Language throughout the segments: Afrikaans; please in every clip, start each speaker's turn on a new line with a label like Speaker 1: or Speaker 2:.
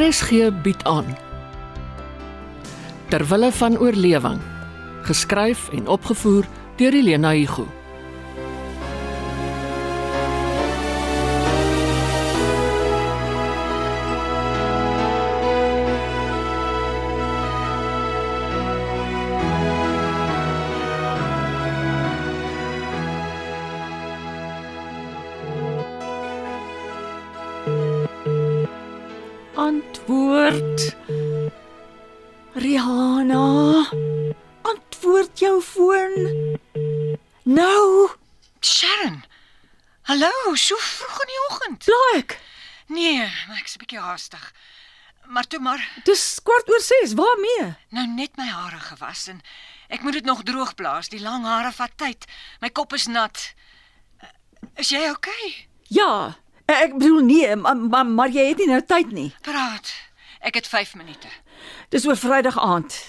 Speaker 1: RSG bied aan Terwille van oorlewing geskryf en opgevoer deur Elena Igu
Speaker 2: Antwoord. Rihanna, antwoord jou foon. Nou,
Speaker 3: Sharon. Hallo, so vroeg in die oggend.
Speaker 2: blaik.
Speaker 3: Nee, maar ek's 'n bietjie haastig. Maar toe maar,
Speaker 2: Dis kwart oor 6. Waarmee?
Speaker 3: nou net my hare gewas en ek moet dit nog droog blaas. Die lang hare vat tyd. My kop is nat. Eh, Is jy oukei? Okay?
Speaker 2: Ja, ek bedoel nee, maar, maar, maar jy het nie nou tyd nie.
Speaker 3: Praat. Ek het 5 minute.
Speaker 2: Dis oor Vrydag aand.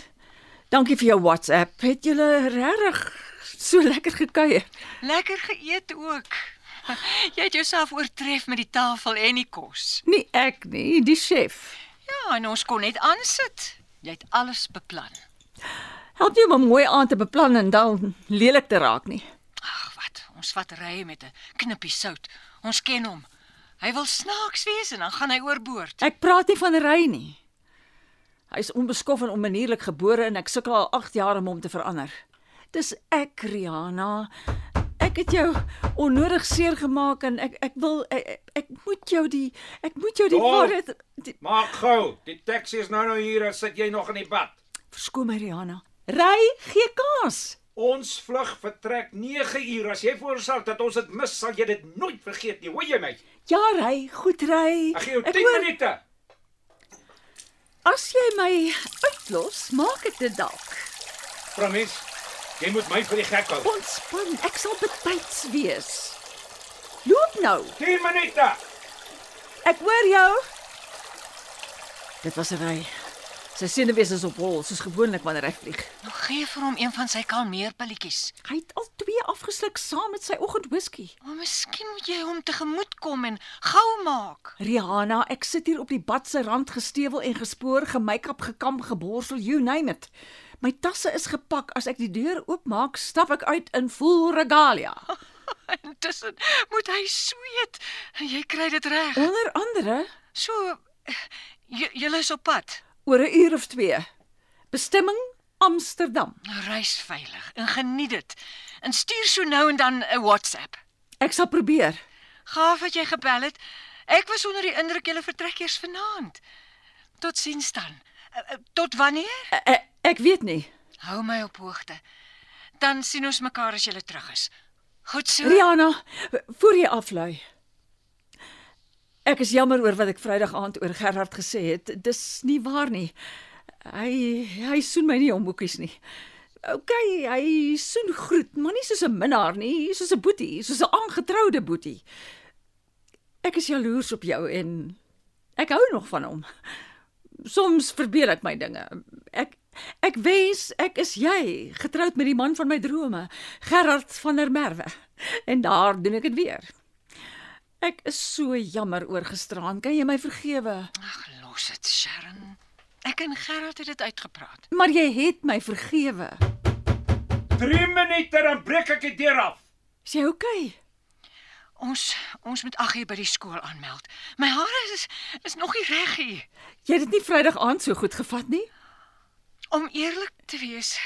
Speaker 2: Dankie vir jou WhatsApp. Het jy regtig so lekker gekuier?
Speaker 3: Lekker geëet ook. Jy het jouself oortref met die tafel en die kos.
Speaker 2: Nie ek nie, die chef.
Speaker 3: Ja, en ons kon net aansit. Jy het alles beplan.
Speaker 2: Help jou om 'n mooi aand te beplan en dan lelik te raak nie.
Speaker 3: Ag wat, ons vat ry met 'n knippie sout. Ons ken hom. Hy wil snaaks wees en dan gaan hy oorboord.
Speaker 2: Ek praat nie van ry nie. Hy is onbeskof en onmanierlik gebore en ek sukkel al 8 jaar om hom te verander. Dis ek, Rihanna. Ek het jou onnodig seer gemaak en ek ek wil ek, ek- ek moet jou die ek moet jou die
Speaker 4: Dol.
Speaker 2: waarheid die-
Speaker 4: Maak gou, die taxi is nou nou hier en sit jy nog in die bad.
Speaker 2: Verskoon my Rihanna. Ry, gee kans.
Speaker 4: Ons vlug vertrek 9 uur. As jy voorstel dat ons dit mis, sal jy dit nooit vergeet nie. Hoor jy my?
Speaker 2: Ja, ry, goed ry.
Speaker 4: Ek gee jou 10
Speaker 2: hoor,
Speaker 4: minute.
Speaker 2: As jy my uitlos, maak ek dit dalk.
Speaker 4: Promis. Jy moet my vir die gek hou.
Speaker 2: Ontspan, ek sal betyds wees. Loop nou.
Speaker 4: 10 minute.
Speaker 2: Ek hoor jou. Dit was 'n ry. Sy senuwees is op hol, soos gewoonlik wanneer hy vlieg.
Speaker 3: Nou gee vir hom een van sy kalmeerpilletjies.
Speaker 2: Hy het al twee afgesluk saam met sy oggendwhisky.
Speaker 3: Maar miskien moet jy hom tegemoet kom en gou maak.
Speaker 2: Rihanna, ek sit hier op die bad se rand gestewel en gespoor, gemake-up, gekam, geborsel, you name it. My tasse is gepak. As ek die deur oopmaak, stap ek uit in full regalia.
Speaker 3: Intussen moet hy sweet. Jy kry dit reg.
Speaker 2: Onder andere
Speaker 3: So eh, j- julle is op pad.
Speaker 2: oor 'n uur of 2. Bestemming Amsterdam.
Speaker 3: Nou reis veilig en geniet dit. En stuur so nou en dan 'n WhatsApp.
Speaker 2: Ek sal probeer.
Speaker 3: Gaaf dat jy gebel het. Ek was onder die indruk jy vertrek eers vanaand. Totsiens dan. Eh, eh, Tot wanneer?
Speaker 2: Ek, eh, ek weet nie.
Speaker 3: Hou my op hoogte. Dan sien ons mekaar as jy terug is. Goed so.
Speaker 2: Rihanna, voor jy aflui. Ek is jammer oor wat ek Vrydag aand oor Gerard gesê het. Dis nie waar nie. Hy hy soen my nie om hoekies nie. OK, hy soen groet, maar nie soos 'n minnaar nie, soos 'n boetie, soos 'n aangetroude boetie. Ek is jaloers op jou en ek hou nog van hom. Soms verbeel ek my dinge. Ek ek wens ek is jy, getroud met die man van my drome, Gerard van der Merwe. En daar doen ek dit weer. Ek is so jammer oor gisteraan. Kan jy my vergewe?
Speaker 3: Ag, los dit, Sharon. Ek en Gerard het dit uitgepraat.
Speaker 2: Maar jy het my vergewe.
Speaker 4: 3 minute dan breek ek die deur af.
Speaker 2: Is jy okay?
Speaker 3: Ons ons moet Aggie by die skool aanmeld. My hare is is nog nie reg hier.
Speaker 2: Jy het dit nie Vrydag aand so goed gevat nie.
Speaker 3: Om eerlik te wees,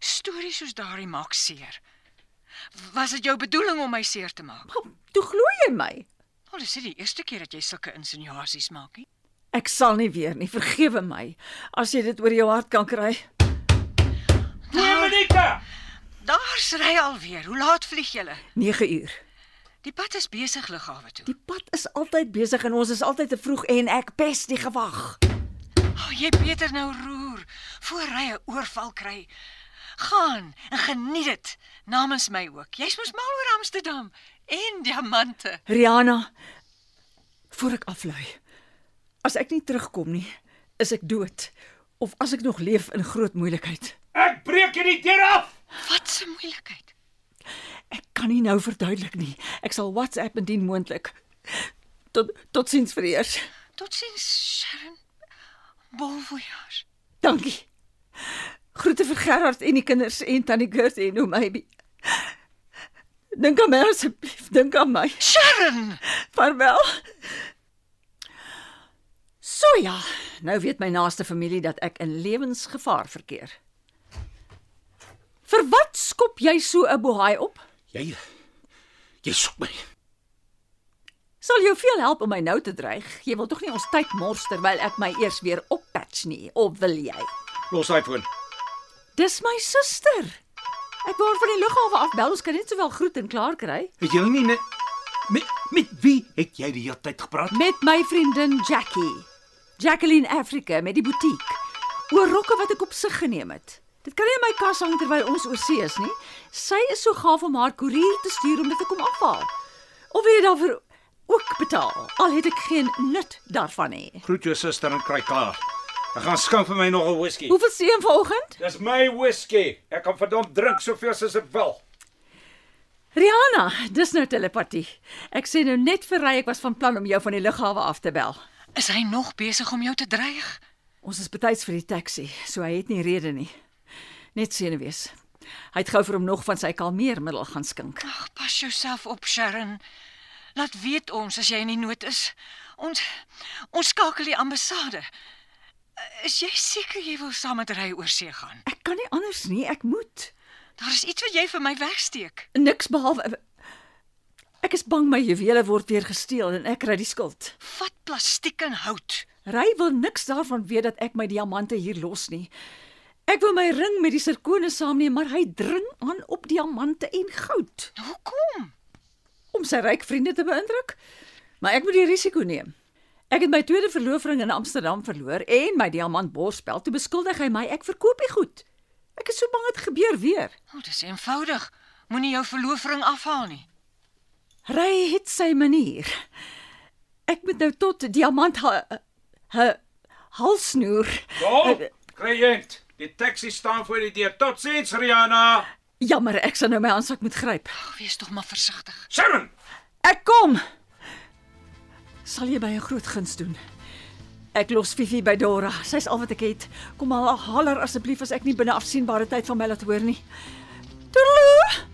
Speaker 3: stories soos daardie maak seer. Was dit jou bedoeling om my seer te maak?
Speaker 2: Maar toe glo jy my.
Speaker 3: Al is dit die eerste keer dat jy sulke insinuasies maak nie.
Speaker 2: Ek sal nie weer nie. Vergewe my as jy dit oor jou hart kan kry.
Speaker 4: 2 minute.
Speaker 3: Daar ry alweer. Hoe laat vlieg julle?
Speaker 2: 9 uur.
Speaker 3: Die pad is besig lughawe toe.
Speaker 2: Die pad is altyd besig en ons is altyd te vroeg en ek pes die gewag.
Speaker 3: O, oh, jy beter nou roer voor hy 'n oorval kry. Gaan en geniet dit namens my ook. Jy's mos mal oor Amsterdam en diamante.
Speaker 2: Rihanna, voor ek aflui. As ek nie terugkom nie, is ek dood of as ek nog leef in groot moeilikheid.
Speaker 4: Ek breek hierdie deur af.
Speaker 3: Wat 'n moeilikheid.
Speaker 2: Ek kan nie nou verduidelik nie. Ek sal WhatsApp indien moontlik. Tot totsiens vir eers.
Speaker 3: Totsiens, Sharon. Bon voyage.
Speaker 2: Dankie. Groete vir Gerard en die kinders en tannie Gert en oom Abby. Dink aan my asseblief, dink aan my.
Speaker 3: Sharon,
Speaker 2: Vaarwel. So ja, nou weet my naaste familie dat ek in lewensgevaar verkeer. Vir wat skop jy so 'n bohaai op?
Speaker 4: Jy jy soek my.
Speaker 2: Sal jou veel help om my nou te dreig. Jy wil tog nie ons tyd mors terwyl ek my eers weer oppatch nie, of wil jy?
Speaker 4: Los daai foon.
Speaker 2: Dis my suster. Ek word van die lughawe af bel, ons kan net sowel groet en klaar kry.
Speaker 4: Het jy nie net met, met wie het jy die hele tyd gepraat?
Speaker 2: Met my vriendin Jackie. Jacqueline Africa met die butiek. Oor rokke wat ek op sig geneem het. Dit kan nie in my kas hang terwyl ons oorsee is nie. Sy is so gaaf om haar koerier te stuur om dit te kom afhaal. Of wil jy daarvoor ook betaal? Al het ek geen nut daarvan nie.
Speaker 4: Groet jou suster en kry klaar. Ek gaan skink vir my nog 'n whisky.
Speaker 2: Hoeveel se een vanoggend?
Speaker 4: Dis my whisky. Ek kan verdomp drink soveel as ek wil.
Speaker 2: Rihanna, dis nou telepatie. Ek sê nou net vir ry ek was van plan om jou van die lughawe af te bel.
Speaker 3: is hy nog besig om jou te dreig?
Speaker 2: Ons is betyds vir die taxi, so hy het nie rede nie. Net senuwees. Hy het gou vir hom nog van sy kalmeermiddel gaan skink.
Speaker 3: Ag, pas jouself op, Sharon. Laat weet ons as jy in die nood is. Ons ons skakel die ambassade. Eh, Is jy seker jy wil saam met ry oor see gaan?
Speaker 2: Ek kan nie anders nie, ek moet.
Speaker 3: Daar is iets wat jy vir my wegsteek.
Speaker 2: Niks behalwe Ek is bang my juwele word weer gesteel en ek kry die skuld.
Speaker 3: Vat plastiek en hout.
Speaker 2: Ry wil niks daarvan weet dat ek my diamante hier los nie. Ek wil my ring met die sirkone saamneem, maar hy dring aan op diamante en goud
Speaker 3: Nou, Hoekom?
Speaker 2: om sy ryk vriende te beïndruk. Maar ek moet die risiko neem. Ek het my tweede verloofring in Amsterdam verloor en my diamant borsbel. Toe beskuldig hy my ek verkoop die goed. Ek is so bang dit gebeur weer.
Speaker 3: O, oh, dis eenvoudig. Moenie jou verloofring afhaal nie.
Speaker 2: Ry het sy manier. Ek moet nou tot diamant ha, ha, halsnoer.
Speaker 4: Kom, kliënt. Die taxi staan voor die deur. Totsiens, Rihanna.
Speaker 2: Jammer, ek sal nou my handsak moet gryp.
Speaker 3: Ag, wees tog maar versigtig.
Speaker 4: Sharon.
Speaker 2: Ek kom. Sal jy by 'n groot guns doen. Ek los Fifi by Dora. Sy's al wat ek het. Kom al haler asseblief as ek nie binne afsienbare tyd van my laat hoor nie. Toedeloe.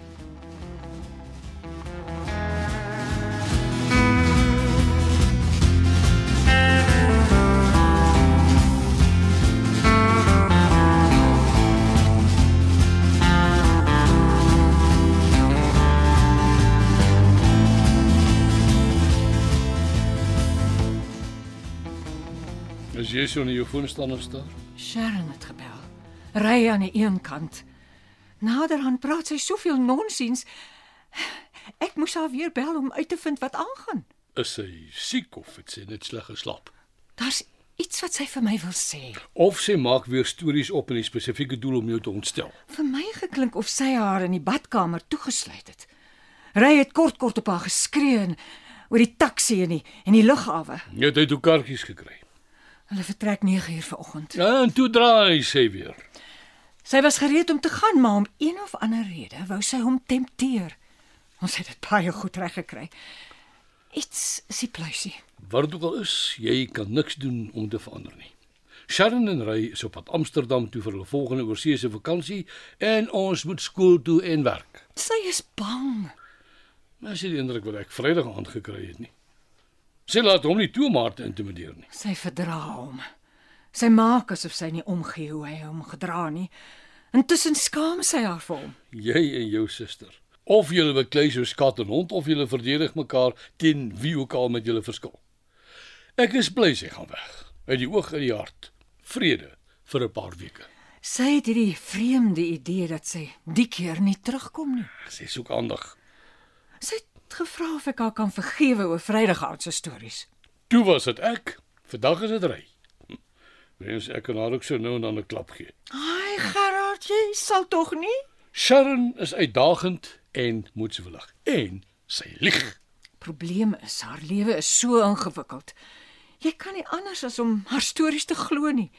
Speaker 5: As jy so in jou foon staan en staar.
Speaker 3: Sharon het gebel. Ry aan die een kant. Naderhand praat sy soveel nonsens. Ek moes haar weer bel om uit te vind wat aangaan.
Speaker 5: Is sy siek of het sy net sleg geslaap?
Speaker 3: Daar's iets wat sy vir my wil sê.
Speaker 5: Of sy maak weer stories op met 'n spesifieke doel om jou te ontstel?
Speaker 3: Vir my geklink of sy haar in die badkamer toegesluit het. Ry het kort kort op haar geskree en oor die taxi en die en die lughawe.
Speaker 5: Jy het uit jou kaartjies gekry. Ja,
Speaker 3: Hulle vertrek 9uur vanoggend.
Speaker 5: En toe draai sy weer.
Speaker 3: Sy was gereed om te gaan, maar om een of ander rede wou sy hom tempteer. Ons het dit baie goed reg gekry. Iets is die pluisie.
Speaker 5: Wat dit ook al is, jy kan niks doen om te verander nie. Sharon en Ray is op pad Amsterdam toe vir hulle volgende oorseese vakansie en ons moet skool toe en werk.
Speaker 3: Sy is bang.
Speaker 5: Maar as jy die indruk wat ek Vrydag aand gekry het nie. Sy laat hom nie toe om haar te intimideer nie.
Speaker 3: Sy verdra hom. Sy maak asof sy nie omgee hoe hy hom gedra nie. Intussen skaam sy haar vir hom.
Speaker 5: Jy en jou suster. Of julle beklei soos kat en hond of julle verdedig mekaar teen wie ook al met julle verskil. Ek is bly sy gaan weg. Uit die oog uit die hart. Vrede vir 'n paar weke.
Speaker 3: Sy het hierdie vreemde idee dat sy die keer nie terugkom nie.
Speaker 5: Sy soek aandag.
Speaker 3: Sy het gevra of ek haar kan vergewe oor Vrydag aand se stories.
Speaker 5: Toe was dit ek, vandag is dit ry. Mens ek kan haar ook so nou en dan 'n klap gee.
Speaker 3: "Ai, Gerard, jy sal tog nie?"
Speaker 5: Sharon is uitdagend en moedswillig en sy lieg.
Speaker 3: Probleem is haar lewe is so ingewikkeld. Jy kan nie anders as om haar stories te glo nie.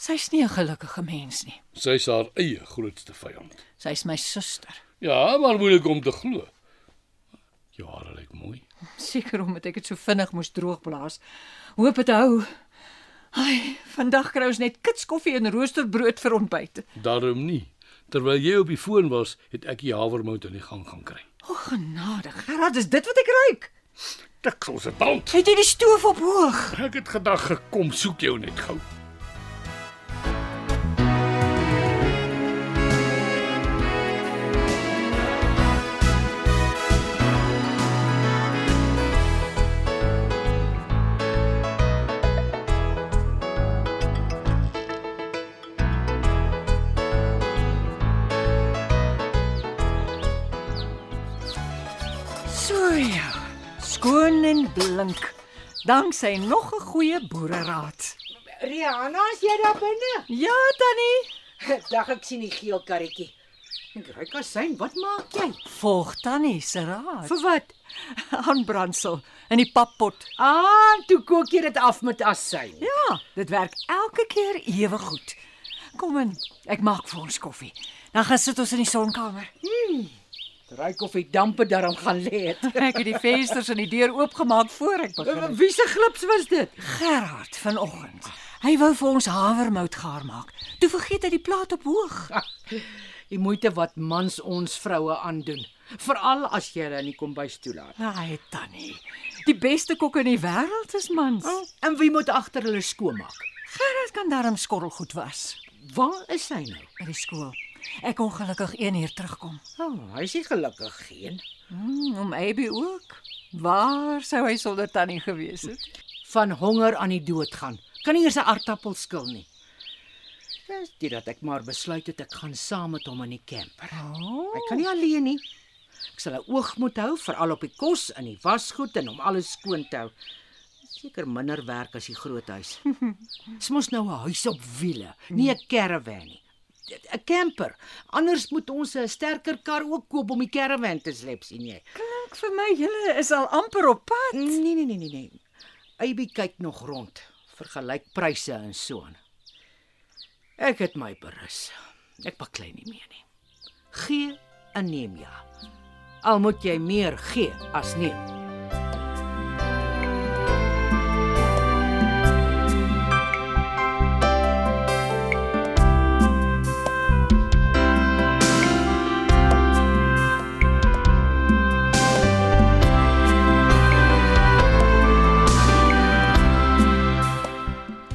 Speaker 3: Sy's nie 'n gelukkige mens nie.
Speaker 5: Sy's haar eie grootste vyand.
Speaker 3: Sy's my suster.
Speaker 5: Ja, maar moeilik om te glo. Jou hare lyk mooi.
Speaker 3: Seker omdat ek dit so vinnig moes droogblaas.
Speaker 2: Hoop dit hou. Ai, vandag kry ons net kitskoffie en roosterbrood vir ontbyt.
Speaker 5: Daarom nie. Terwyl jy op die foon was, het ek die havermout in die gang gaan kry.
Speaker 2: O genade, Gerard, is dit wat ek ruik?
Speaker 5: Stiksel se tand.
Speaker 2: Het jy die stoof op hoog?
Speaker 5: Ek het gedag gekom soek jou net gou.
Speaker 2: So ja, skoon en blink. Danksy nog 'n goeie boereraad.
Speaker 6: Rihanna, is jy daar binne?
Speaker 2: Ja, Tannie,
Speaker 6: Dag ek sien die geel karretjie. Ek ry kasyn, wat maak jy?
Speaker 2: volg Tannie se raad.
Speaker 6: Vir wat?
Speaker 2: Aanbrandsel in die pappot.
Speaker 6: Ah, toe kook jy dit af met asyn.
Speaker 2: Ja, dit werk elke keer ewe goed. Kom in, ek maak vir ons koffie. Dan gaan sit ons in die sonkamer.
Speaker 6: Ryk of die dampe daarom gaan lê het.
Speaker 2: Ek het die vensters en die deur oopgemaak voor ek begin. het.
Speaker 6: Wie se glips was dit?
Speaker 2: Gerard vanoggend. Hy wou vir ons havermout gaar maak. Toe vergeet hy die plaat op hoog.
Speaker 6: Die moeite wat mans ons vroue aandoen, veral as jy hulle in die kombuis toelaat.
Speaker 2: Ai, Nou, Tannie. Die beste kok in die wêreld is mans. Oh.
Speaker 6: En wie moet agter hulle skoonmaak?
Speaker 2: Gerard kan darm skorrelgoed was
Speaker 6: Waar is hy nou?
Speaker 2: by die skool. Ek ongelukkig 1 uur terugkom.
Speaker 6: Oh, hy is nie gelukkig geen.
Speaker 2: Hmm, om Abby ook. Waar sou hy sonder Tannie gewees het?
Speaker 6: Van honger aan die dood gaan. Kan nie eers 'n aartappel skil nie. Dis dit dat ek maar besluit het ek gaan saam met hom in die camper.
Speaker 2: Oh.
Speaker 6: Hy kan nie alleen nie. Ek sal 'n oog moet hou veral op die kos en die wasgoed en om alles skoon te hou. Seker minder werk as die groot huis. Dis mos nou 'n huis op wiele, nie 'n caravan nie. 'n Camper. Anders moet ons 'n sterker kar ook koop om die caravan te sleep, sien jy.
Speaker 2: Klink vir my julle is al amper op pad.
Speaker 6: Nee nee nee nee nee. Aby kyk nog rond, vergelyk pryse en so aan. Ek het my berus. Ek baklei nie meer nie. Gee en neem ja. Al moet jy meer gee as neem.